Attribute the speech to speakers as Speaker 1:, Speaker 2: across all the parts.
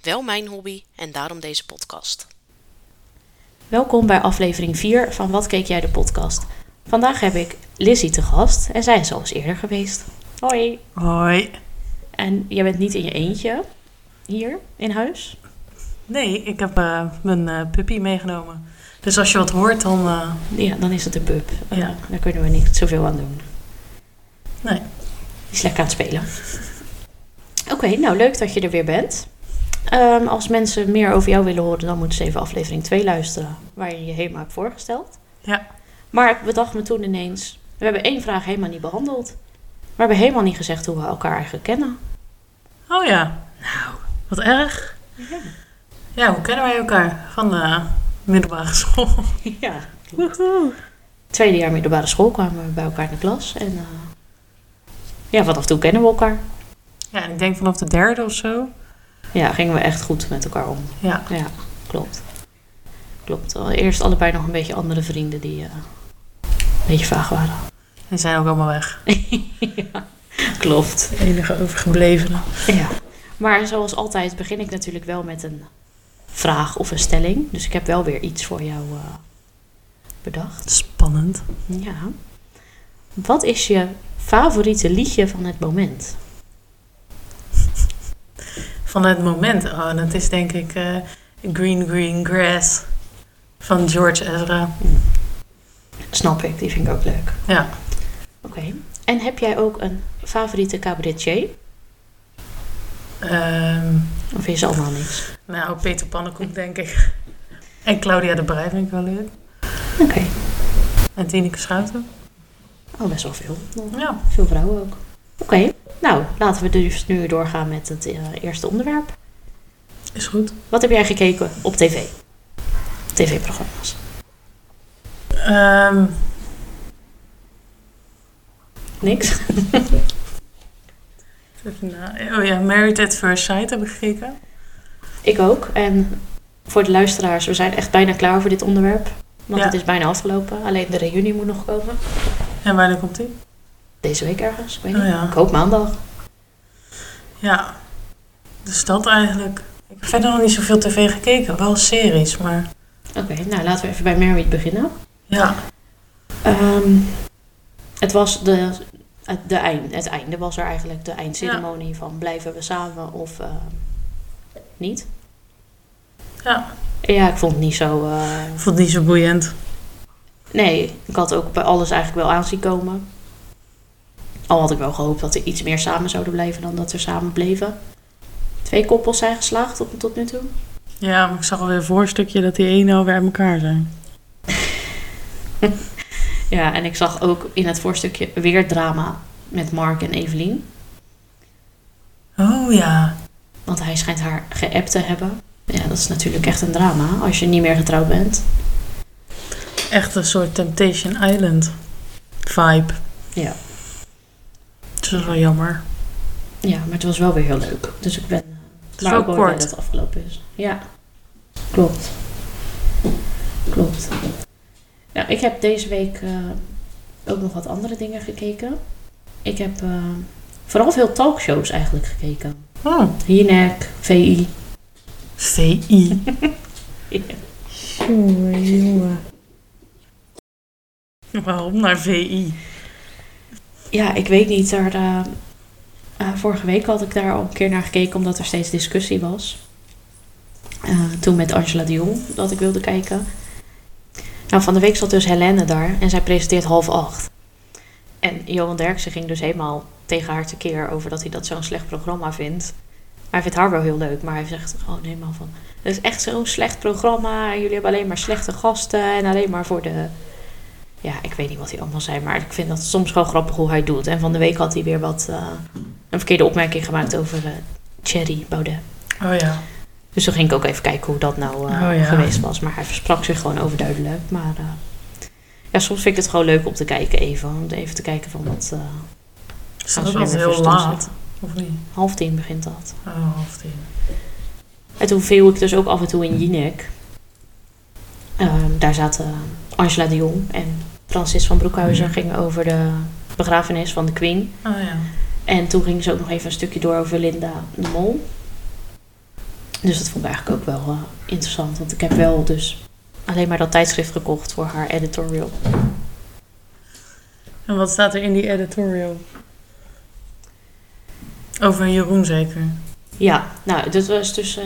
Speaker 1: wel mijn hobby en daarom deze podcast. Welkom bij aflevering 4 van Wat keek jij de podcast. Vandaag heb ik Lizzie te gast en zij is al eens eerder geweest. Hoi.
Speaker 2: Hoi.
Speaker 1: En jij bent niet in je eentje hier in huis?
Speaker 2: Nee, ik heb eh, mijn eh, puppy meegenomen. Dus als je wat hoort, dan. eh,
Speaker 1: Ja, dan is het de pub. Eh,
Speaker 2: Ja.
Speaker 1: daar kunnen we niet zoveel aan doen.
Speaker 2: nee.
Speaker 1: Die is lekker aan het spelen. Oké, nou leuk dat je er weer bent. Ehm, als mensen meer over jou willen horen, dan moeten ze even aflevering 2 luisteren, waarin je helemaal hebt voorgesteld.
Speaker 2: Ja.
Speaker 1: Maar ik bedacht me toen ineens, we hebben één vraag helemaal niet behandeld. We hebben helemaal niet gezegd hoe we elkaar eigenlijk kennen.
Speaker 2: Oh ja. Nou, wat erg.
Speaker 1: Ja.
Speaker 2: Ja, hoe kennen wij elkaar? Van de middelbare school.
Speaker 1: Ja. Tweede jaar middelbare school kwamen we bij elkaar in de klas. En eh, ja, vanaf toen kennen we elkaar.
Speaker 2: Ja, en ik denk vanaf de derde of zo.
Speaker 1: Ja, gingen we echt goed met elkaar om.
Speaker 2: Ja.
Speaker 1: Ja, klopt. Klopt. Eerst allebei nog een beetje andere vrienden die eh, een beetje vaag waren.
Speaker 2: Die zijn ook allemaal weg.
Speaker 1: Klopt.
Speaker 2: De enige overgeblevenen.
Speaker 1: Ja. Maar zoals altijd begin ik natuurlijk wel met een vraag of een stelling. Dus ik heb wel weer iets voor jou eh, bedacht.
Speaker 2: Spannend.
Speaker 1: Ja. Wat is je favoriete liedje van het moment?
Speaker 2: Van het moment. Oh, dat is denk ik eh, Green Green Grass van George Ezra.
Speaker 1: Snap ik, die vind ik ook leuk.
Speaker 2: Ja.
Speaker 1: Oké. En heb jij ook een favoriete cabaretier?
Speaker 2: Ehm,
Speaker 1: Of is allemaal niks?
Speaker 2: nou, Peter Pannenkoek denk ik. En Claudia de Brij vind ik wel leuk.
Speaker 1: Oké.
Speaker 2: En Tineke Schouten.
Speaker 1: Oh, best wel veel.
Speaker 2: Ja.
Speaker 1: Veel vrouwen ook. Oké, nou laten we dus nu doorgaan met het eh, eerste onderwerp.
Speaker 2: Is goed.
Speaker 1: Wat heb jij gekeken op tv? TV-programma's.
Speaker 2: Ehm,
Speaker 1: Niks?
Speaker 2: even na- oh ja, Married at First Sight heb ik gekeken.
Speaker 1: Ik ook. En voor de luisteraars, we zijn echt bijna klaar voor dit onderwerp. Want
Speaker 2: Ja.
Speaker 1: het is bijna afgelopen. Alleen de reunie moet nog komen.
Speaker 2: En wanneer komt die?
Speaker 1: Deze week ergens, ik weet niet.
Speaker 2: Oh ja.
Speaker 1: Ik hoop maandag.
Speaker 2: Ja. Dus dat eigenlijk. Ik heb verder nog niet zoveel tv gekeken. Wel series, maar...
Speaker 1: Oké, nou laten we even bij Married beginnen.
Speaker 2: Ja.
Speaker 1: Ehm, het was de, het, de eind, het einde was er eigenlijk. De eindceremonie van blijven we samen of eh, niet.
Speaker 2: Ja.
Speaker 1: Ja, ik vond het niet zo. eh,
Speaker 2: Ik vond het niet zo boeiend.
Speaker 1: Nee, ik had ook bij alles eigenlijk wel aanzien komen. Al had ik wel gehoopt dat er iets meer samen zouden blijven dan dat er samen bleven. Twee koppels zijn geslaagd tot, tot nu toe.
Speaker 2: Ja, maar ik zag alweer een voorstukje dat die ene alweer aan elkaar zijn.
Speaker 1: Ja, en ik zag ook in het voorstukje weer drama met Mark en Evelien.
Speaker 2: Oh ja.
Speaker 1: Want hij schijnt haar geappt te hebben. Ja, dat is natuurlijk echt een drama als je niet meer getrouwd bent.
Speaker 2: Echt een soort Temptation Island vibe.
Speaker 1: Ja.
Speaker 2: Dus dat is wel jammer.
Speaker 1: Ja, maar het was wel weer heel leuk. Dus ik ben.
Speaker 2: Het
Speaker 1: Het
Speaker 2: is wel
Speaker 1: dat
Speaker 2: kort.
Speaker 1: het afgelopen is. Ja, klopt. Klopt. Nou, ik heb deze week eh, ook nog wat andere dingen gekeken. Ik heb eh, vooral veel talkshows eigenlijk gekeken.
Speaker 2: Oh.
Speaker 1: Hinek, VI.
Speaker 2: VI. Jongen, jongen. Waarom naar VI?
Speaker 1: Ja, ik weet niet. Daar, eh, eh, vorige week had ik daar al een keer naar gekeken omdat er steeds discussie was. Eh, toen met Angela Dion dat ik wilde kijken. Nou, van de week zat dus Helene daar en zij presenteert half acht. En Johan Derksen ging dus helemaal tegen haar tekeer over dat hij dat zo'n slecht programma vindt. Maar hij vindt haar wel heel leuk, maar hij zegt gewoon helemaal van... Het is echt zo'n slecht programma en jullie hebben alleen maar slechte gasten en alleen maar voor de... Ja, ik weet niet wat hij allemaal zei, maar ik vind dat soms gewoon grappig hoe hij doet. En van de week had hij weer wat... eh, een verkeerde opmerking gemaakt over eh Thierry Baudet.
Speaker 2: Oh ja.
Speaker 1: Dus toen ging ik ook even kijken hoe dat nou eh,
Speaker 2: Oh, ja.
Speaker 1: geweest was. Maar hij versprak zich gewoon overduidelijk. Maar eh, ja, soms vind ik het gewoon leuk om te kijken even. Om even te kijken van wat... eh,
Speaker 2: Is
Speaker 1: gaan
Speaker 2: dat
Speaker 1: ze
Speaker 2: ook
Speaker 1: weer
Speaker 2: altijd
Speaker 1: voor
Speaker 2: heel
Speaker 1: stoel
Speaker 2: laat?
Speaker 1: zetten.
Speaker 2: Of niet?
Speaker 1: Half tien begint dat.
Speaker 2: Oh, half tien.
Speaker 1: En toen viel ik dus ook af en toe in Jinek. Ehm, daar zaten Angela de Jong en Francis van Broekhuizen
Speaker 2: Ja.
Speaker 1: gingen over de begrafenis van de Queen.
Speaker 2: Oh ja.
Speaker 1: En toen gingen ze ook nog even een stukje door over Linda de Mol. Dus dat vond ik eigenlijk ook wel eh, interessant. Want ik heb wel dus alleen maar dat tijdschrift gekocht voor haar editorial.
Speaker 2: En wat staat er in die editorial? Over Jeroen zeker.
Speaker 1: Ja, nou, dat was dus eh,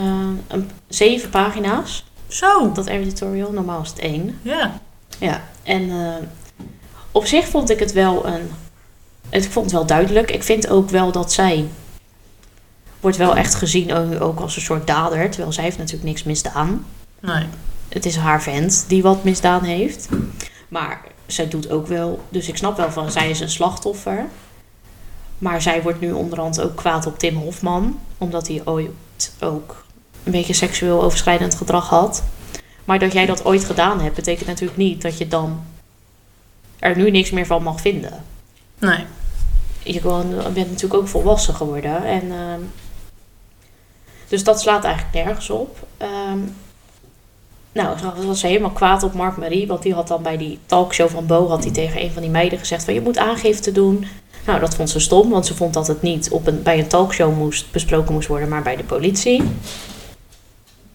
Speaker 1: een, zeven pagina's,
Speaker 2: Zo!
Speaker 1: dat editorial. Normaal is het één.
Speaker 2: Ja.
Speaker 1: Ja, en eh, op zich vond ik het wel een. Het, ik vond het wel duidelijk. Ik vind ook wel dat zij. wordt wel echt gezien ook, ook als een soort dader. Terwijl zij heeft natuurlijk niks misdaan.
Speaker 2: Nee.
Speaker 1: Het is haar vent die wat misdaan heeft. Maar zij doet ook wel. Dus ik snap wel van zij is een slachtoffer. Maar zij wordt nu onderhand ook kwaad op Tim Hofman. Omdat hij ooit ook een beetje seksueel overschrijdend gedrag had. Maar dat jij dat ooit gedaan hebt, betekent natuurlijk niet dat je dan er nu niks meer van mag vinden.
Speaker 2: Nee.
Speaker 1: Je gewoon- je bent natuurlijk ook volwassen geworden. En, ehm, dus dat slaat eigenlijk nergens op. Ehm, nou, ze was helemaal kwaad op Mark Marie. Want die had dan bij die talkshow van Bo had hij tegen een van die meiden gezegd van je moet aangifte doen. Nou, dat vond ze stom, want ze vond dat het niet op een, bij een talkshow moest, besproken moest worden, maar bij de politie.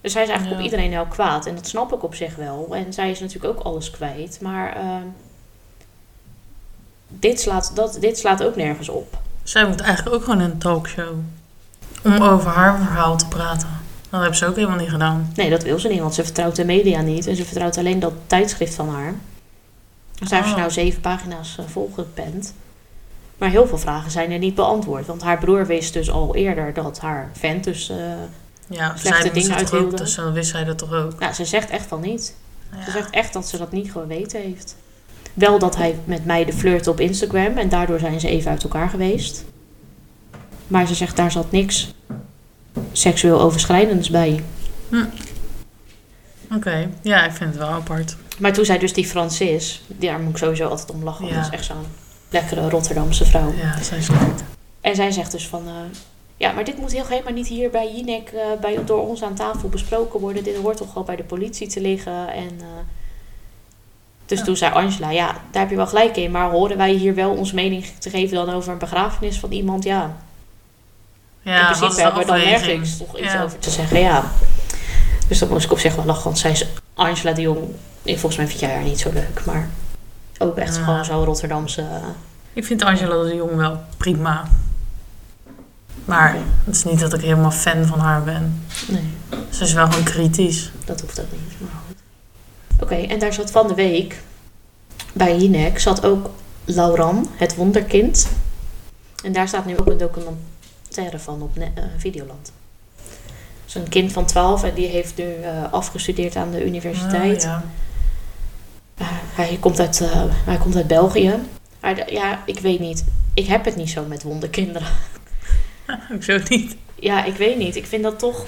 Speaker 1: Dus hij is eigenlijk
Speaker 2: Ja.
Speaker 1: op iedereen heel kwaad. En dat snap ik op zich wel. En zij is natuurlijk ook alles kwijt. Maar ehm, dit, slaat, dat, dit slaat ook nergens op.
Speaker 2: Zij moet eigenlijk ook gewoon in een talkshow.
Speaker 1: Mm.
Speaker 2: Om over haar verhaal te praten. Dat hebben ze ook helemaal niet gedaan.
Speaker 1: Nee, dat wil ze niet, want ze vertrouwt de media niet. En ze vertrouwt alleen dat tijdschrift van haar. Dus daar heeft ze
Speaker 2: Oh.
Speaker 1: nou zeven pagina's eh, volgepend. Maar heel veel vragen zijn er niet beantwoord. Want haar broer wist dus al eerder dat haar vent dus... eh,
Speaker 2: Ja,
Speaker 1: Slechte
Speaker 2: zij moest
Speaker 1: dingen
Speaker 2: het toch
Speaker 1: uithielden.
Speaker 2: ook, dus dan wist zij dat toch ook.
Speaker 1: nou, ze zegt echt van niet. Ze
Speaker 2: Ja.
Speaker 1: zegt echt dat ze dat niet geweten heeft. Wel dat hij met meiden flirte op Instagram. En daardoor zijn ze even uit elkaar geweest. Maar ze zegt, daar zat niks seksueel overschrijdends bij.
Speaker 2: Oké, ja, ik vind het wel apart.
Speaker 1: Maar toen zei dus die Francis, daar moet ik sowieso altijd om lachen. want
Speaker 2: Ja.
Speaker 1: Dat is echt zo'n lekkere Rotterdamse vrouw.
Speaker 2: Ja, zij is leuk.
Speaker 1: En zij zegt dus van, eh, ja, maar dit moet heel helemaal niet hier bij Jinek, eh, bij, door ons aan tafel besproken worden. Dit hoort toch wel bij de politie te liggen. En, eh, dus
Speaker 2: Ja.
Speaker 1: toen zei Angela, ja, daar heb je wel gelijk in. Maar horen wij hier wel onze mening te geven dan over een begrafenis van iemand? Ja, in
Speaker 2: Ja, wat is
Speaker 1: principe
Speaker 2: de
Speaker 1: hebben we dan
Speaker 2: afweging?
Speaker 1: nergens toch iets
Speaker 2: Ja.
Speaker 1: over te zeggen, ja. Dus dat moest ik op zich wel lachen, want zij is Angela de Jong. eh, Volgens mij vind jij haar niet zo leuk, maar ook echt
Speaker 2: Ja.
Speaker 1: gewoon zo'n Rotterdamse... eh,
Speaker 2: Ik vind Angela de Jong wel prima. Maar
Speaker 1: Oké.
Speaker 2: het is niet dat ik helemaal fan van haar ben.
Speaker 1: nee,
Speaker 2: Ze is wel gewoon kritisch.
Speaker 1: dat hoeft ook niet, maar goed. Oké, en daar zat van de week, bij Jinek, zat ook Lauran, het wonderkind. En daar staat nu ook een documentaire van op ne- eh, Videoland. Dat is een kind van 12 en die heeft nu eh, afgestudeerd aan de universiteit.
Speaker 2: Ah, ja.
Speaker 1: Eh, hij, komt uit, eh, hij komt uit België. Maar de- ja, ik weet niet. Ik heb het niet zo met wonderkinderen.
Speaker 2: Ik zo niet.
Speaker 1: Ja, ik weet niet. Ik vind dat toch.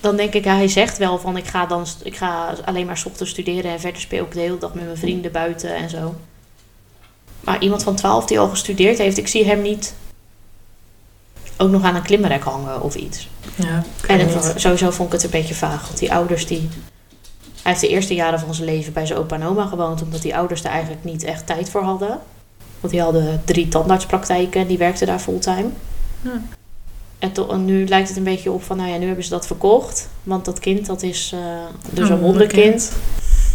Speaker 1: Dan denk ik, ja, hij zegt wel van ik ga, dan, st- ik ga alleen maar 's ochtends studeren en verder speel ik de hele dag met mijn vrienden buiten en zo. Maar iemand van 12 die al gestudeerd heeft, ik zie hem niet ook nog aan een klimrek hangen of iets.
Speaker 2: Ja, ik
Speaker 1: En
Speaker 2: weet
Speaker 1: het-
Speaker 2: niet.
Speaker 1: sowieso vond ik het een beetje vaag. Want die ouders die... Hij heeft de eerste jaren van zijn leven bij zijn opa en oma gewoond. Omdat die ouders daar eigenlijk niet echt tijd voor hadden. Want die hadden drie tandartspraktijken en die werkten daar fulltime.
Speaker 2: Hm.
Speaker 1: En, to- en nu lijkt het een beetje op van, nou ja, nu hebben ze dat verkocht. Want dat kind, dat is eh, dus een wonderkind.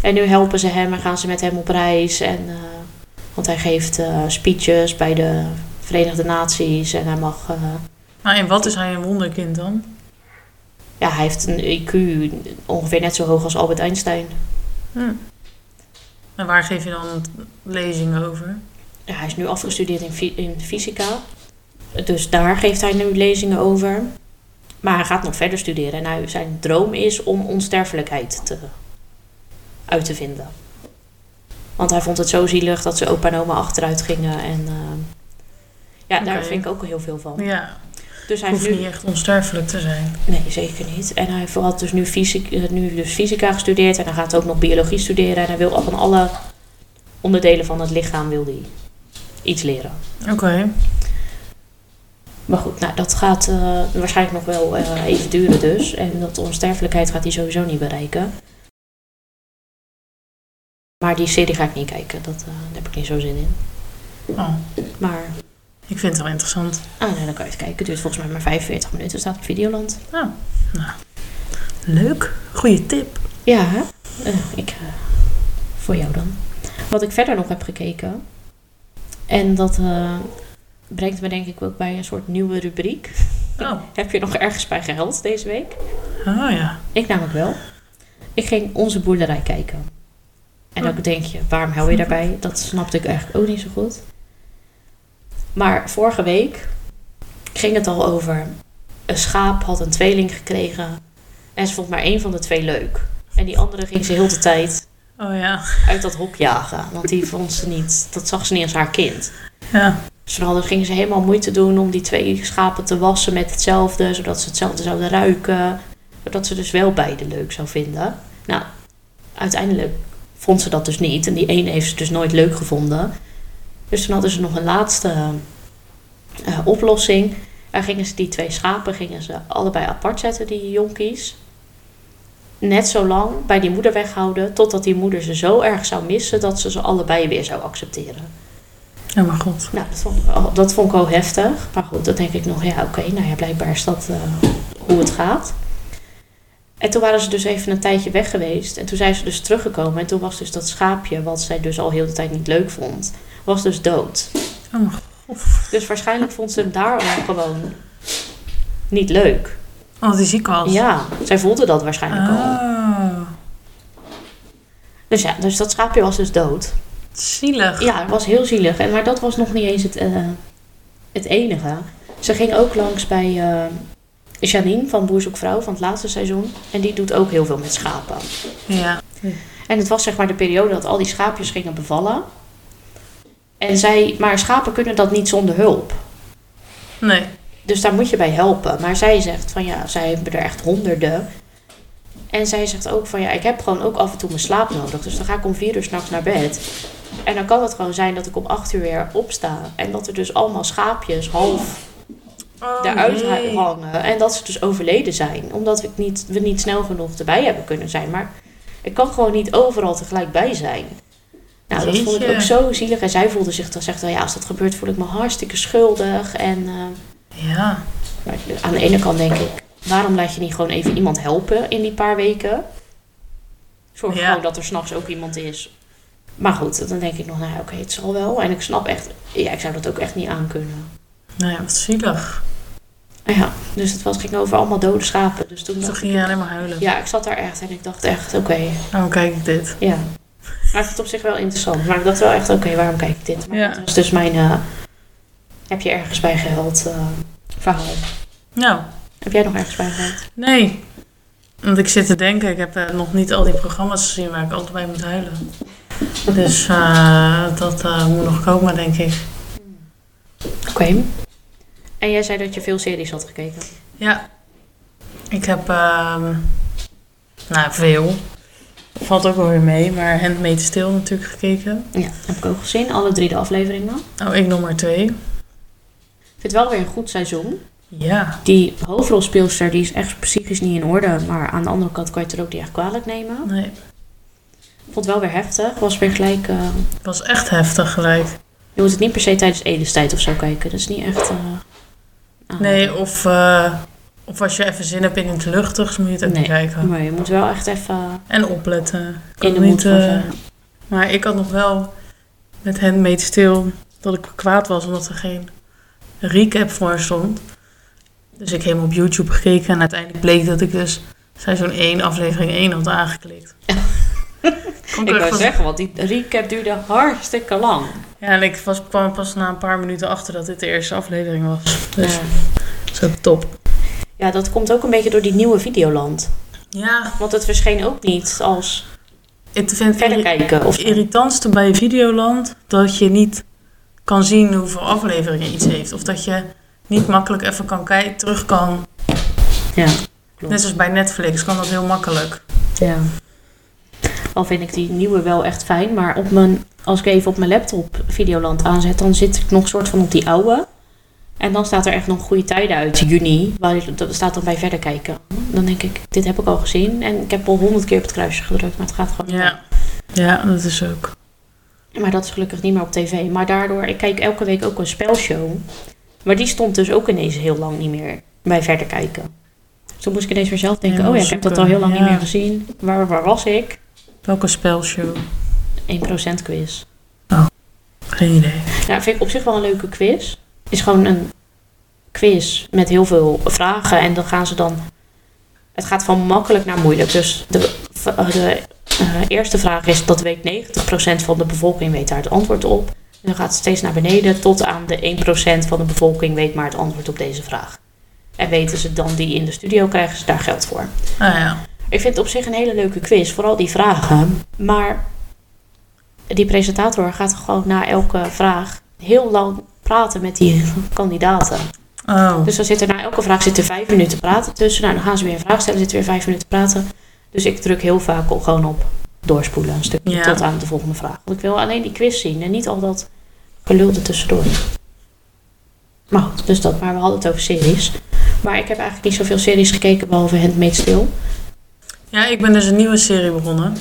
Speaker 1: En nu helpen ze hem en gaan ze met hem op reis. En, eh, want hij geeft eh, speeches bij de Verenigde Naties. En hij mag... eh,
Speaker 2: Maar en wat is hij een wonderkind dan?
Speaker 1: ja, hij heeft een IQ ongeveer net zo hoog als Albert Einstein.
Speaker 2: Hm. En waar geef je dan lezingen over?
Speaker 1: Ja, hij is nu afgestudeerd in, fi- in fysica. Dus daar geeft hij nu lezingen over. Maar hij gaat nog verder studeren. En hij, zijn droom is om onsterfelijkheid te, uit te vinden. Want hij vond het zo zielig dat zijn opa en oma achteruit gingen. En eh, ja, daar
Speaker 2: Oké.
Speaker 1: vind ik ook heel veel van.
Speaker 2: Ja.
Speaker 1: Dus Dus hij
Speaker 2: hoeft
Speaker 1: heeft nu...
Speaker 2: niet echt onsterfelijk te zijn.
Speaker 1: Nee, zeker niet. En hij had dus nu, fysiek, eh, nu dus fysica gestudeerd en hij gaat ook nog biologie studeren. En hij wil van alle onderdelen van het lichaam wil hij iets leren.
Speaker 2: Oké.
Speaker 1: Maar goed, nou, dat gaat eh, waarschijnlijk nog wel eh, even duren dus. En dat onsterfelijkheid gaat hij sowieso niet bereiken. Maar die serie ga ik niet kijken. Dat, eh, daar heb ik niet zo zin in.
Speaker 2: Oh,
Speaker 1: Maar
Speaker 2: ik vind het wel interessant.
Speaker 1: ah, nee, dan kan je het kijken. Het duurt volgens mij maar 45 minuten. Het staat op Videoland.
Speaker 2: Leuk. Goeie tip.
Speaker 1: Ja, hè? Eh, ik, eh, voor jou dan. Wat ik verder nog heb gekeken. En dat eh, brengt me denk ik ook bij een soort nieuwe rubriek.
Speaker 2: Oh.
Speaker 1: Heb je nog ergens bij geheld deze week?
Speaker 2: Oh ja.
Speaker 1: Ik namelijk wel. Ik ging onze boerderij kijken. En ook denk je, waarom hou je daarbij? Dat snapte ik eigenlijk ook niet zo goed. Maar vorige week ging het al over. Een schaap had een tweeling gekregen. En ze vond maar één van de twee leuk. En die andere ging ze heel de tijd
Speaker 2: Oh ja.
Speaker 1: uit dat hok jagen. Want die vond ze niet. Dat zag ze niet als haar kind.
Speaker 2: Ja.
Speaker 1: Dus dan hadden- gingen ze helemaal moeite doen om die twee schapen te wassen met hetzelfde, zodat ze hetzelfde zouden ruiken. Zodat ze dus wel beide leuk zou vinden. Nou, uiteindelijk vond ze dat dus niet. En die ene heeft ze dus nooit leuk gevonden. Dus toen hadden ze nog een laatste eh, oplossing. En gingen ze die twee schapen gingen ze allebei apart zetten, die jonkies. Net zo lang bij die moeder weghouden, totdat die moeder ze zo erg zou missen dat ze ze allebei weer zou accepteren.
Speaker 2: Ja, maar Oh god.
Speaker 1: Nou, dat vond, ik al- dat vond ik al heftig. Maar goed, dan denk ik nog, ja, oké, nou ja, blijkbaar is dat eh, hoe het gaat. En toen waren ze dus even een tijdje weg geweest. En toen zijn ze dus teruggekomen. En toen was dus dat schaapje, wat zij dus al heel de tijd niet leuk vond, was dus dood.
Speaker 2: Oh mijn god.
Speaker 1: Dus waarschijnlijk vond ze hem daar al gewoon niet leuk.
Speaker 2: Oh, die ziek was.
Speaker 1: Ja, zij voelde dat waarschijnlijk al.
Speaker 2: Oh.
Speaker 1: Dus ja, dus dat schaapje was dus dood.
Speaker 2: Zielig.
Speaker 1: Ja, het was heel zielig. En, maar dat was nog niet eens het, eh, het enige. Ze ging ook langs bij eh Janine van Boer Zoekt Vrouw van het laatste seizoen. En die doet ook heel veel met schapen.
Speaker 2: Ja.
Speaker 1: En het was zeg maar de periode dat al die schaapjes gingen bevallen. En zij, maar schapen kunnen dat niet zonder hulp.
Speaker 2: Nee.
Speaker 1: Dus daar moet je bij helpen. Maar zij zegt van ja, zij hebben er echt honderden. En zij zegt ook van ja, ik heb gewoon ook af en toe mijn slaap nodig. Dus dan ga ik om vier uur s'nachts naar bed. En dan kan het gewoon zijn dat ik om acht uur weer opsta. En dat er dus allemaal schaapjes half
Speaker 2: Oh,
Speaker 1: daaruit
Speaker 2: jee.
Speaker 1: hangen. En dat ze dus overleden zijn. Omdat ik niet, we niet snel genoeg erbij hebben kunnen zijn. Maar ik kan gewoon niet overal tegelijk bij zijn. Nou, dat vond ik
Speaker 2: Jeetje.
Speaker 1: ook zo zielig. En zij voelde zich dan, zegt wel, ja, als dat gebeurt voel ik me hartstikke schuldig. En... eh,
Speaker 2: Ja.
Speaker 1: maar aan de ene kant denk ik, waarom laat je niet gewoon even iemand helpen in die paar weken? Zorg
Speaker 2: Ja.
Speaker 1: gewoon dat er s'nachts ook iemand is. Maar goed, dan denk ik nog, nou ja, oké, het zal wel. En ik snap echt, ja, ik zou dat ook echt niet aankunnen.
Speaker 2: Nee, wat zielig.
Speaker 1: En Ja, dus het was, ging over allemaal dode schapen. Dus toen
Speaker 2: Toen
Speaker 1: dacht
Speaker 2: ging je alleen maar huilen.
Speaker 1: ik, ja, ik zat daar echt en ik dacht echt, oké,
Speaker 2: Oh, kijk ik dit.
Speaker 1: ja. Maar ik vond het op zich wel interessant. Maar ik dacht wel echt, oké, waarom kijk ik dit? Maar
Speaker 2: Ja.
Speaker 1: dat was dus mijn, eh, heb je ergens bij gehuild eh, verhaal.
Speaker 2: Nou,
Speaker 1: Heb jij nog ergens bij gehuild?
Speaker 2: nee. Want ik zit te denken, ik heb eh, nog niet al die programma's gezien waar ik altijd bij moet huilen. Dus eh, dat eh, moet nog komen, denk ik.
Speaker 1: Oké. En jij zei dat je veel series had gekeken.
Speaker 2: Ja. Ik heb, ehm, nou, veel. Valt ook wel weer mee, maar Handmaid's Tale natuurlijk gekeken.
Speaker 1: Ja, heb ik ook gezien. Alle drie de afleveringen.
Speaker 2: Oh, ik nummer twee.
Speaker 1: Ik vind het wel weer een goed seizoen.
Speaker 2: Ja.
Speaker 1: Die hoofdrolspeelster die is echt psychisch niet in orde. Maar aan de andere kant kan je het er ook niet echt kwalijk nemen.
Speaker 2: Nee,
Speaker 1: Ik vond het wel weer heftig. Was weer gelijk... eh,
Speaker 2: het was echt heftig gelijk.
Speaker 1: je moet het niet per se tijdens edenstijd of zo kijken. Dat is niet echt... eh, aan-
Speaker 2: Nee, of, eh, of als je even zin hebt in het luchtigs, moet je het ook
Speaker 1: Nee.
Speaker 2: niet kijken.
Speaker 1: Maar je moet wel echt even
Speaker 2: En opletten. Kan
Speaker 1: in de
Speaker 2: niet,
Speaker 1: moed voor
Speaker 2: eh,
Speaker 1: zijn.
Speaker 2: Maar ik had nog wel met Handmaid's stil dat ik kwaad was omdat er geen recap voor stond. Dus ik heb hem op YouTube gekeken en uiteindelijk bleek dat ik dus seizoen 1, aflevering 1 had aangeklikt. Kon
Speaker 1: Ik
Speaker 2: er
Speaker 1: wou
Speaker 2: pas-
Speaker 1: zeggen, want die recap duurde hartstikke lang.
Speaker 2: Ja, en ik was, kwam er pas na een paar minuten achter dat dit de eerste aflevering was. Dus
Speaker 1: Ja.
Speaker 2: dat is ook top.
Speaker 1: ja, dat komt ook een beetje door die nieuwe Videoland.
Speaker 2: Ja,
Speaker 1: Want het verscheen ook niet als...
Speaker 2: ik vind
Speaker 1: verder
Speaker 2: irri-
Speaker 1: kijken. Of
Speaker 2: Het irritantste bij Videoland dat je niet kan zien hoeveel afleveringen iets heeft. Of dat je niet makkelijk even kan kijken, terug kan.
Speaker 1: Ja.
Speaker 2: Net zoals bij Netflix kan dat heel makkelijk.
Speaker 1: ja. Al vind ik die nieuwe wel echt fijn, maar op mijn, als ik even op mijn laptop Videoland aanzet, dan zit ik nog soort van op die oude. En dan staat er echt nog goede tijden uit, juni. Waar, dat staat dan bij verder kijken. Dan denk ik, dit heb ik al gezien en ik heb al honderd keer op het kruisje gedrukt, maar het gaat gewoon niet.
Speaker 2: Ja, ja dat is ook.
Speaker 1: Maar dat is gelukkig niet meer op tv. Maar daardoor, ik kijk elke week ook een spelshow. Maar die stond dus ook ineens heel lang niet meer bij verder kijken. Dus toen moest ik ineens weer zelf denken,
Speaker 2: Ja,
Speaker 1: oh ja, ik heb dat al
Speaker 2: zoeken,
Speaker 1: heel lang
Speaker 2: ja.
Speaker 1: niet meer gezien. Waar, waar was ik?
Speaker 2: Welke spelshow?
Speaker 1: 1% quiz.
Speaker 2: Geen idee.
Speaker 1: Nou, vind ik op zich wel een leuke quiz. Is gewoon een quiz met heel veel vragen. En dan gaan ze dan... Het gaat van makkelijk naar moeilijk. Dus de, de eh, eerste vraag is, dat weet 90% van de bevolking weet daar het antwoord op. En dan gaat het steeds naar beneden tot aan de 1% van de bevolking weet maar het antwoord op deze vraag. En weten ze dan die in de studio, krijgen ze daar geld voor.
Speaker 2: Ah ja.
Speaker 1: Ik vind het op zich een hele leuke quiz, vooral die vragen. Maar die presentator gaat gewoon na elke vraag heel lang praten met die kandidaten.
Speaker 2: Oh,
Speaker 1: Dus dan zit er na elke vraag zitten vijf minuten praten tussen. Nou, dan gaan ze weer een vraag stellen, zitten weer vijf minuten praten. Dus ik druk heel vaak op, gewoon op doorspoelen een stukje
Speaker 2: Ja.
Speaker 1: tot aan de volgende vraag. Want ik wil alleen die quiz zien en niet al dat gelul er tussendoor. Maar goed, dus dat. Maar we hadden het over series. Maar ik heb eigenlijk niet zoveel series gekeken behalve Handmaid's Tale.
Speaker 2: ja, ik ben dus een nieuwe serie begonnen.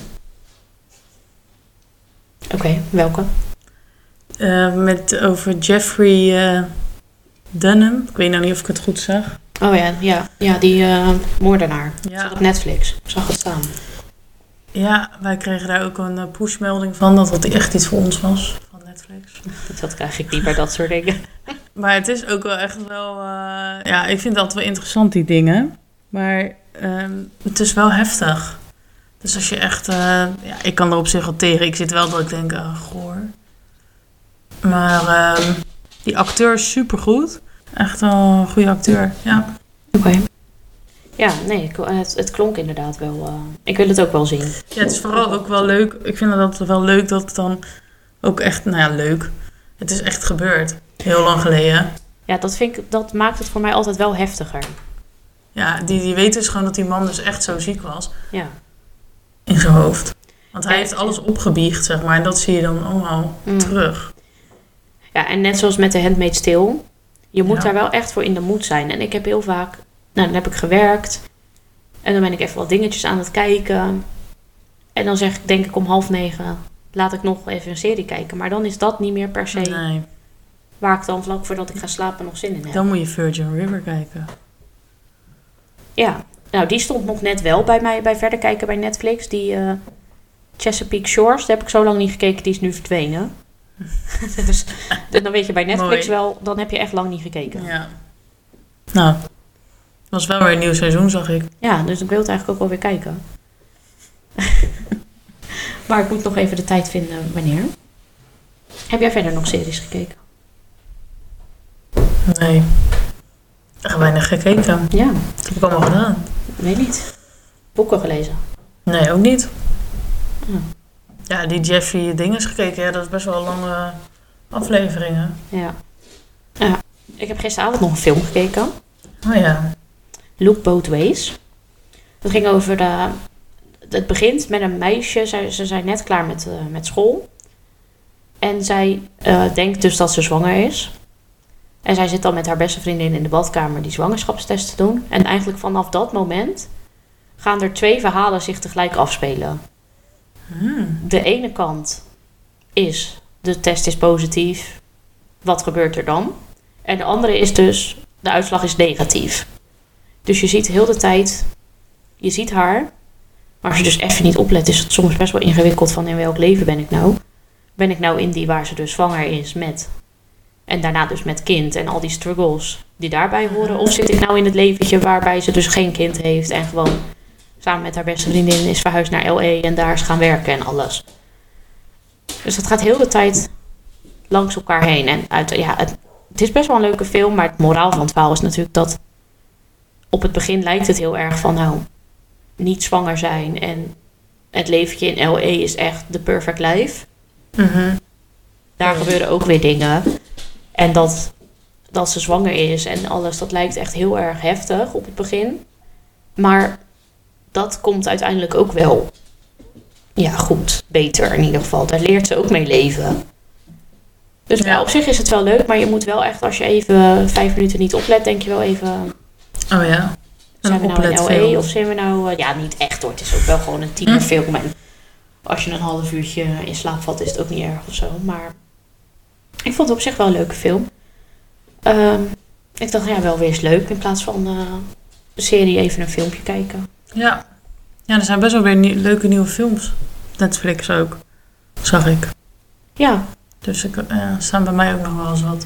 Speaker 1: Oké, welke?
Speaker 2: Eh, met over Jeffrey eh, Dunham. Ik weet nou niet of ik het goed zeg.
Speaker 1: Oh ja, ja, ja die eh, moordenaar.
Speaker 2: Ja.
Speaker 1: Zat op Netflix. Zag het staan.
Speaker 2: Ja, wij kregen daar ook een eh, pushmelding van dat dat echt iets voor ons was van Netflix.
Speaker 1: Dat krijg ik niet bij dat soort dingen.
Speaker 2: Maar het is ook wel echt wel. eh, ja, ik vind dat wel interessant, die dingen. Maar ehm, het is wel heftig. Dus als je echt. eh, ja, ik kan er op zich al tegen. Ik zit wel dat ik denk, ah, goor. Maar ehm, die acteur is supergoed. Echt wel een goede acteur. Ja.
Speaker 1: Oké. Ja, nee, ik- eh, het, het klonk inderdaad wel. eh, ik wil het ook wel zien.
Speaker 2: Ja, het is vooral ook wel leuk. Ik vind dat wel leuk dat het dan ook echt, nou ja, leuk. Het is echt gebeurd. Heel lang geleden.
Speaker 1: Ja, dat, vind ik, dat maakt het voor mij altijd wel heftiger.
Speaker 2: Ja, die, die weet dus gewoon dat die man dus echt zo ziek was
Speaker 1: Ja.
Speaker 2: in zijn hoofd. Want hij heeft alles opgebiecht, zeg maar. En dat zie je dan allemaal
Speaker 1: Mm.
Speaker 2: terug.
Speaker 1: Ja, en net zoals met de Handmaid's Tale. Je moet
Speaker 2: Ja.
Speaker 1: daar wel echt voor in de moed zijn. En ik heb heel vaak... Nou, dan heb ik gewerkt. En dan ben ik even wat dingetjes aan het kijken. En dan zeg ik, denk ik om half negen... Laat ik nog even een serie kijken. Maar dan is dat niet meer per se...
Speaker 2: Nee,
Speaker 1: waar ik dan vlak voordat ik ga slapen nog zin in heb.
Speaker 2: dan moet je Virgin River kijken.
Speaker 1: Ja, nou die stond nog net wel bij mij bij verder kijken bij Netflix. Die eh, Chesapeake Shores, daar heb ik zo lang niet gekeken, die is nu verdwenen. dus dan weet je bij Netflix
Speaker 2: Mooi.
Speaker 1: wel, dan heb je echt lang niet gekeken. Ja.
Speaker 2: Ja. Nou, het was wel weer een nieuw seizoen, zag ik.
Speaker 1: dus ik wil het eigenlijk ook alweer kijken. maar ik moet nog even de tijd vinden wanneer. Heb jij verder nog series gekeken?
Speaker 2: Nee. Echt weinig gekeken.
Speaker 1: Ja,
Speaker 2: Dat heb ik allemaal gedaan.
Speaker 1: weet niet. Boeken gelezen.
Speaker 2: Nee, ook niet.
Speaker 1: Ja.
Speaker 2: Ja, die Jeffy dinges gekeken, ja, dat is best wel lange afleveringen.
Speaker 1: Ja. ja. Ik heb gisteravond nog een film gekeken.
Speaker 2: Oh ja.
Speaker 1: Look Both Ways. Dat ging over de. Het begint met een meisje. Zij, ze zijn net klaar met, eh, met school. En zij eh, denkt dus dat ze zwanger is. En zij zit dan met haar beste vriendin in de badkamer die zwangerschapstest te doen. En eigenlijk vanaf dat moment gaan er twee verhalen zich tegelijk afspelen.
Speaker 2: Hmm.
Speaker 1: De ene kant is de test is positief. Wat gebeurt er dan? En de andere is dus de uitslag is negatief. Dus je ziet heel de tijd, je ziet haar. Maar als je dus even niet oplet, is het soms best wel ingewikkeld van in welk leven ben ik nou? Ben ik nou in die waar ze dus zwanger is met. En daarna dus met kind en al die struggles die daarbij horen. Of zit ik nou in het leventje waarbij ze dus geen kind heeft en gewoon samen met haar beste vriendin is verhuisd naar LA en daar is gaan werken en alles. Dus dat gaat heel de tijd langs elkaar heen. En uit, ja, het, het is best wel een leuke film, maar het moraal van het verhaal is natuurlijk dat op het begin lijkt het heel erg van nou, niet zwanger zijn en het leventje in LA is echt de perfect life.
Speaker 2: Mhm.
Speaker 1: Daar gebeuren ook weer dingen. En dat dat ze zwanger is en alles. Dat lijkt echt heel erg heftig op het begin. Maar dat komt uiteindelijk ook wel. Ja, goed. Beter in ieder geval. Daar leert ze ook mee leven. Dus
Speaker 2: Ja.
Speaker 1: ja, op zich is het wel leuk, maar je moet wel echt, als je even vijf minuten niet oplet, denk je wel even.
Speaker 2: Oh ja.
Speaker 1: Zijn
Speaker 2: Een
Speaker 1: we nou in LA
Speaker 2: opletfilm.
Speaker 1: of zijn we nou... eh, ja, niet echt hoor. Het is ook wel gewoon een
Speaker 2: Hm?
Speaker 1: tienerfilm. En als je een half uurtje in slaap valt, is het ook niet erg of zo. Maar ik vond het op zich wel een leuke film. Ehm, ik dacht, ja, wel weer eens leuk. In plaats van eh, een serie even een filmpje kijken.
Speaker 2: Ja. Ja, er zijn best wel weer nie- leuke nieuwe films. Netflix ook. Zag ik.
Speaker 1: Ja,
Speaker 2: Dus ik, eh, staan bij mij ook nog wel eens wat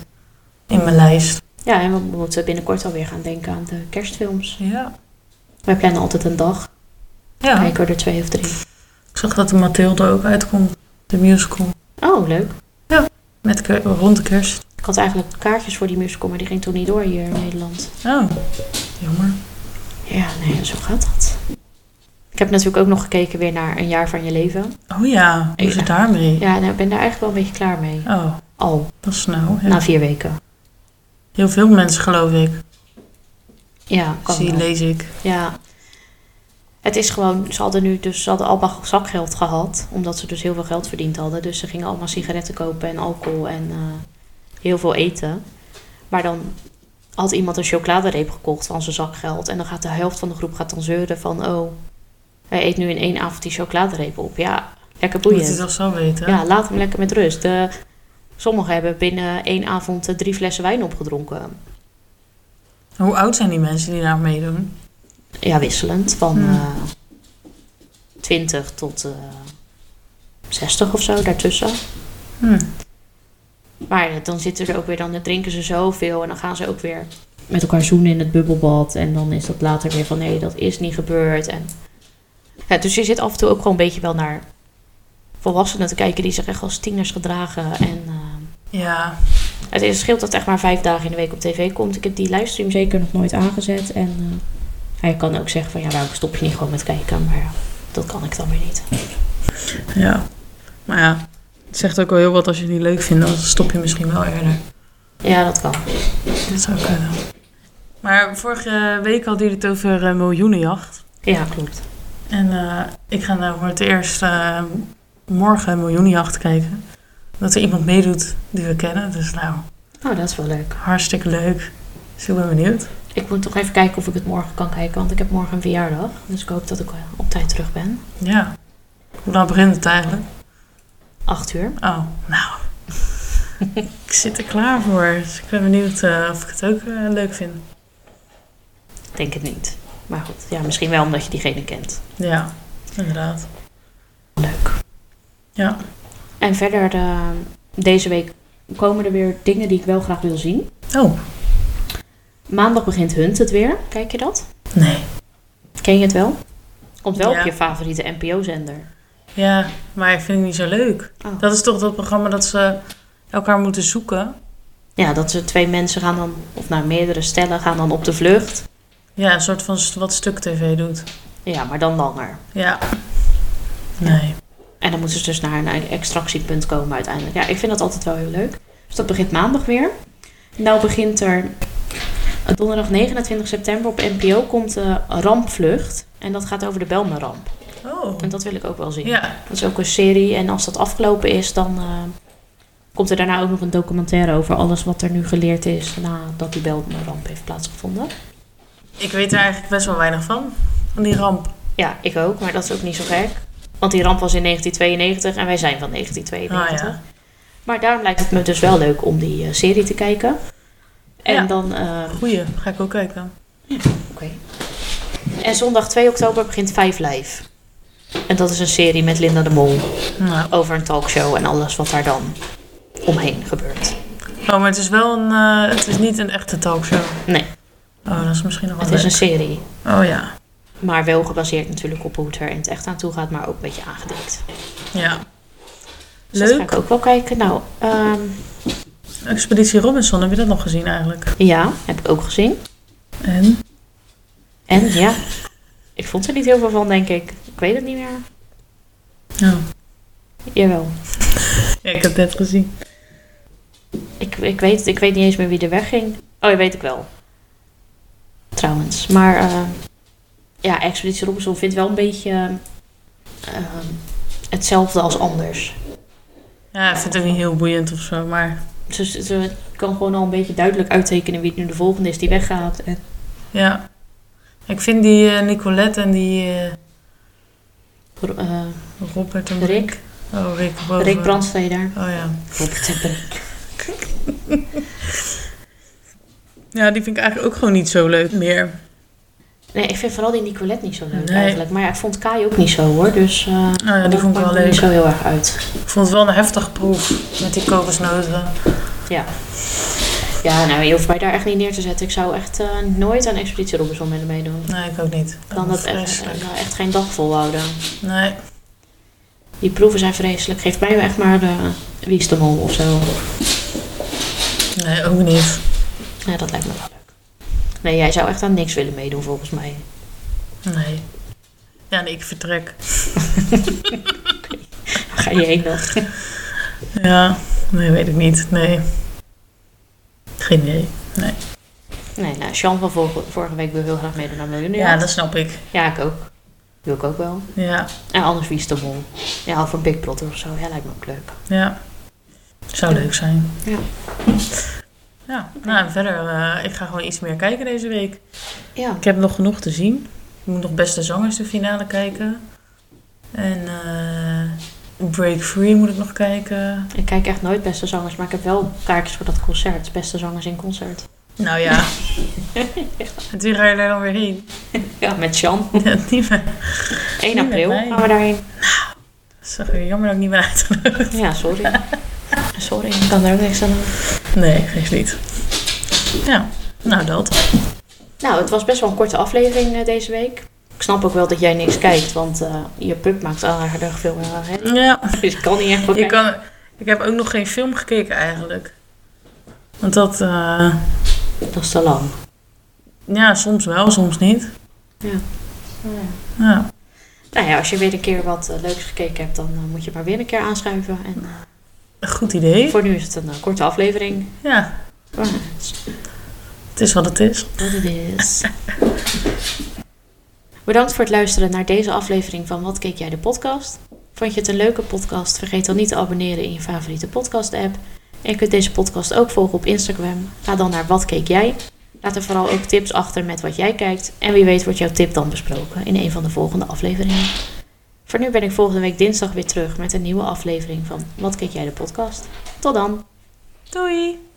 Speaker 2: in mijn lijst.
Speaker 1: ja en we moeten binnenkort alweer gaan denken aan de kerstfilms.
Speaker 2: Ja.
Speaker 1: Wij plannen altijd een dag.
Speaker 2: Ja.
Speaker 1: Kijken we er twee of drie.
Speaker 2: Ik zag dat de Mathilde ook uitkomt. De musical.
Speaker 1: Oh, leuk.
Speaker 2: Met ke- rond de kerst.
Speaker 1: Ik had eigenlijk kaartjes voor die musical, maar die ging toen niet door hier in Nederland.
Speaker 2: Oh. Jammer.
Speaker 1: Ja, nee, zo gaat dat. Ik heb natuurlijk ook nog gekeken weer naar Een jaar van je leven.
Speaker 2: Oh ja. Hoe is het daarmee?
Speaker 1: Ja, nou, ik ben daar eigenlijk wel een beetje klaar mee.
Speaker 2: Oh.
Speaker 1: Al,
Speaker 2: Dat is snel. Ja.
Speaker 1: na vier weken.
Speaker 2: Heel veel mensen geloof ik.
Speaker 1: Ja, kan
Speaker 2: Zie,
Speaker 1: wel.
Speaker 2: lees ik.
Speaker 1: Ja. Het is gewoon, ze hadden nu dus, ze hadden allemaal zakgeld gehad. Omdat ze dus heel veel geld verdiend hadden. Dus ze gingen allemaal sigaretten kopen en alcohol en eh, heel veel eten. Maar dan had iemand een chocoladereep gekocht van zijn zakgeld. En dan gaat de helft van de groep gaat dan zeuren van, oh, hij eet nu in één avond die chocoladereep op. Ja, lekker
Speaker 2: Moet je
Speaker 1: boeiend.
Speaker 2: dat zo weten.
Speaker 1: Ja, laat hem lekker met rust. De, sommigen hebben binnen één avond eh, drie flessen wijn opgedronken.
Speaker 2: Hoe oud zijn die mensen die daar meedoen?
Speaker 1: Ja, wisselend. Van
Speaker 2: Hmm.
Speaker 1: eh, 20 tot eh, 60 of zo, daartussen.
Speaker 2: Hm.
Speaker 1: Maar ja, dan zitten er ook weer, dan drinken ze zoveel en dan gaan ze ook weer met elkaar zoenen in het bubbelbad. En dan is dat later weer van nee, dat is niet gebeurd. En, ja, dus je zit af en toe ook gewoon een beetje wel naar volwassenen te kijken die zich echt als tieners gedragen. En eh,
Speaker 2: Ja.
Speaker 1: het is- scheelt dat het echt maar vijf dagen in de week op tv komt. Ik heb die livestream zeker nog nooit aangezet. En eh, hij kan ook zeggen van ja, waarom stop je niet gewoon met kijken? Maar ja, dat kan ik dan weer niet.
Speaker 2: Ja. Maar ja. Het zegt ook wel heel wat als je het niet leuk vindt. Dan stop je misschien wel eerder.
Speaker 1: Ja, dat kan.
Speaker 2: Dat zou kunnen. Maar vorige week hadden jullie het over eh, miljoenenjacht.
Speaker 1: Ja, klopt.
Speaker 2: En eh, ik ga nou voor het eerst eh, morgen miljoenenjacht kijken. Dat er iemand meedoet die we kennen. Dus nou,
Speaker 1: Nou, dat is wel leuk.
Speaker 2: hartstikke leuk. Dus ik ben benieuwd.
Speaker 1: Ik moet toch even kijken of ik het morgen kan kijken, want ik heb morgen een verjaardag. Dus ik hoop dat ik eh, op tijd terug ben.
Speaker 2: Ja. Hoe laat begint het eigenlijk?
Speaker 1: Acht uur.
Speaker 2: Oh, nou. ik zit er klaar voor. Dus ik ben benieuwd eh, of ik het ook eh, leuk vind.
Speaker 1: Ik Denk het niet. Maar goed, ja, misschien wel omdat je diegene kent.
Speaker 2: Ja, inderdaad.
Speaker 1: Leuk.
Speaker 2: Ja.
Speaker 1: En verder, eh, deze week komen er weer dingen die ik wel graag wil zien.
Speaker 2: Oh,
Speaker 1: Maandag begint Hunt het weer. Kijk je dat?
Speaker 2: nee.
Speaker 1: Ken je het wel? Komt wel
Speaker 2: Ja.
Speaker 1: op je favoriete NPO-zender.
Speaker 2: Ja, maar ik vind het niet zo leuk.
Speaker 1: Oh.
Speaker 2: Dat is toch dat programma dat ze elkaar moeten zoeken?
Speaker 1: Ja, dat ze twee mensen gaan dan, of nou meerdere stellen, gaan dan op de vlucht.
Speaker 2: Ja, een soort van st- wat stuk tv doet.
Speaker 1: Ja, maar dan langer.
Speaker 2: Ja. Nee.
Speaker 1: En dan moeten ze dus naar een extractiepunt komen uiteindelijk. Ja, ik vind dat altijd wel heel leuk. Dus dat begint maandag weer. Nou begint er donderdag 29 september op NPO komt eh, Rampvlucht. En dat gaat over de Belmaramp.
Speaker 2: Oh.
Speaker 1: En dat wil ik ook wel zien.
Speaker 2: Ja.
Speaker 1: Dat is ook een serie. En als dat afgelopen is, dan eh, komt er daarna ook nog een documentaire over alles wat er nu geleerd is nadat die Belmaramp heeft plaatsgevonden.
Speaker 2: Ik weet er eigenlijk best wel weinig van. Van die ramp.
Speaker 1: Ja, ik ook, maar dat is ook niet zo gek. Want die ramp was in 1992 en wij zijn van 1992.
Speaker 2: Ah, ja.
Speaker 1: Maar daarom lijkt het me dus wel leuk om die eh, serie te kijken. En
Speaker 2: Ja.
Speaker 1: dan. eh,
Speaker 2: Goeie, ga ik ook kijken.
Speaker 1: oké. En zondag 2 oktober begint 5 Live. En dat is een serie met Linda de Mol
Speaker 2: Nou.
Speaker 1: over een talkshow en alles wat daar dan omheen gebeurt.
Speaker 2: Oh, maar het is wel een... eh, het is niet een echte talkshow.
Speaker 1: Nee,
Speaker 2: Oh, dat is misschien nog wel
Speaker 1: het is een
Speaker 2: leuk.
Speaker 1: serie.
Speaker 2: Oh ja.
Speaker 1: Maar wel gebaseerd natuurlijk op hoe het er in het echt aan toe gaat, maar ook een beetje aangedikt.
Speaker 2: Ja.
Speaker 1: Dus dat ga
Speaker 2: Leuk.
Speaker 1: ik ook wel kijken. Nou, ehm,
Speaker 2: Expeditie Robinson, heb je dat nog gezien eigenlijk?
Speaker 1: ja, heb ik ook gezien.
Speaker 2: En?
Speaker 1: En ja, ik vond er niet heel veel van, denk ik. Ik weet het niet meer.
Speaker 2: Ja. Oh.
Speaker 1: Jawel.
Speaker 2: Ja, ik heb het net gezien.
Speaker 1: Ik Ik, ik, weet, ik weet niet eens meer wie er wegging. Oh, ja, weet ik wel. Trouwens. Maar eh, ja, Expeditie Robinson vindt wel een beetje eh, hetzelfde als anders.
Speaker 2: Ja, ik vind het ook niet heel boeiend of zo, maar
Speaker 1: Ze, ze- ze kan gewoon al een beetje duidelijk uittekenen wie nu de volgende is die weggaat. En,
Speaker 2: ja. Ik vind die eh, Nicolette en die eh,
Speaker 1: eh,
Speaker 2: Robert en
Speaker 1: Rick.
Speaker 2: Oh, Rick boven.
Speaker 1: Rick Brandsteder.
Speaker 2: Oh ja.
Speaker 1: Robert en Rick.
Speaker 2: Ja, die vind ik eigenlijk ook gewoon niet zo leuk meer.
Speaker 1: Nee, ik vind vooral die Nicolette niet zo leuk
Speaker 2: Nee. Nou
Speaker 1: eigenlijk. Maar ja, ik vond Kai ook niet zo hoor. Dus eh
Speaker 2: ja, die
Speaker 1: dat
Speaker 2: vond ik
Speaker 1: maakt
Speaker 2: wel
Speaker 1: me Niet
Speaker 2: leuk.
Speaker 1: zo heel erg uit.
Speaker 2: Ik vond het wel een heftig proef met die kokosnoten.
Speaker 1: Ja. Ja, nou, je hoeft mij daar echt niet neer te zetten. Ik zou echt eh, nooit aan Expeditie Robinson willen meedoen.
Speaker 2: Nee, ik ook niet.
Speaker 1: Dan dat echt,
Speaker 2: vreselijk.
Speaker 1: eh, echt geen dag volhouden.
Speaker 2: Nee.
Speaker 1: Die proeven zijn vreselijk. Geeft mij echt maar de wie is de mol of zo.
Speaker 2: nee, ook niet.
Speaker 1: Nee, dat lijkt me wel leuk. Nee, jij zou echt aan niks willen meedoen volgens mij.
Speaker 2: Nee. Ja, nee, ik vertrek.
Speaker 1: Waar ga je heen dan?
Speaker 2: Ja, nee, weet ik niet. Nee. Geen idee.
Speaker 1: Nee, nou, Sean van vorige, vorige week wil heel graag meedoen aan Miljoenen.
Speaker 2: Ja, dat snap ik.
Speaker 1: ja, ik ook. Wil ik ook wel.
Speaker 2: Ja,
Speaker 1: En anders wie is de mol? Ja, of een Big Brother of zo. Ja, lijkt me ook leuk.
Speaker 2: ja. Zou leuk zijn.
Speaker 1: Ja.
Speaker 2: Ja, nou en verder, eh, ik ga gewoon iets meer kijken deze week.
Speaker 1: Ja,
Speaker 2: Ik heb nog genoeg te zien. Ik moet nog Beste Zangers de finale kijken. En eh, Break Free moet ik nog kijken.
Speaker 1: ik kijk echt nooit Beste Zangers, maar ik heb wel kaartjes voor dat concert. Beste Zangers in Concert.
Speaker 2: Nou ja. En toen ga je daar dan weer heen.
Speaker 1: Ja, met Jan.
Speaker 2: Ja, niet meer.
Speaker 1: 1
Speaker 2: Niet
Speaker 1: april
Speaker 2: met mij.
Speaker 1: gaan we daarheen.
Speaker 2: Dat is toch weer jammer dat ik niet ben uitgenodigd.
Speaker 1: Ja, sorry. Sorry, ik kan er ook niks aan doen.
Speaker 2: Nee, geeft niet. Ja, nou dat.
Speaker 1: Nou, het was best wel een korte aflevering eh, deze week. Ik snap ook wel dat jij niks kijkt, want eh, je pup maakt al aardig veel eh, hè?
Speaker 2: Ja,
Speaker 1: Dus ik kan niet echt wat
Speaker 2: je
Speaker 1: kijken.
Speaker 2: kan, ik heb ook nog geen film gekeken eigenlijk. Want dat, eh,
Speaker 1: Dat is te lang.
Speaker 2: ja, soms wel, soms niet.
Speaker 1: Ja.
Speaker 2: Ja,
Speaker 1: Nou ja, als je weer een keer wat eh, leuks gekeken hebt, dan eh, moet je maar weer een keer aanschuiven. En eh,
Speaker 2: een goed idee.
Speaker 1: voor nu is het een eh, korte aflevering.
Speaker 2: Ja,
Speaker 1: Maar
Speaker 2: het is wat het is.
Speaker 1: wat het is. Bedankt voor het luisteren naar deze aflevering van Wat Keek Jij de Podcast. Vond je het een leuke podcast? Vergeet dan niet te abonneren in je favoriete podcast-app. En je kunt deze podcast ook volgen op Instagram. Ga dan naar Wat Keek Jij. Laat er vooral ook tips achter met wat jij kijkt. En wie weet wordt jouw tip dan besproken in een van de volgende afleveringen. Voor nu ben ik volgende week dinsdag weer terug met een nieuwe aflevering van Wat Keek Jij de Podcast. Tot dan!
Speaker 2: Doei!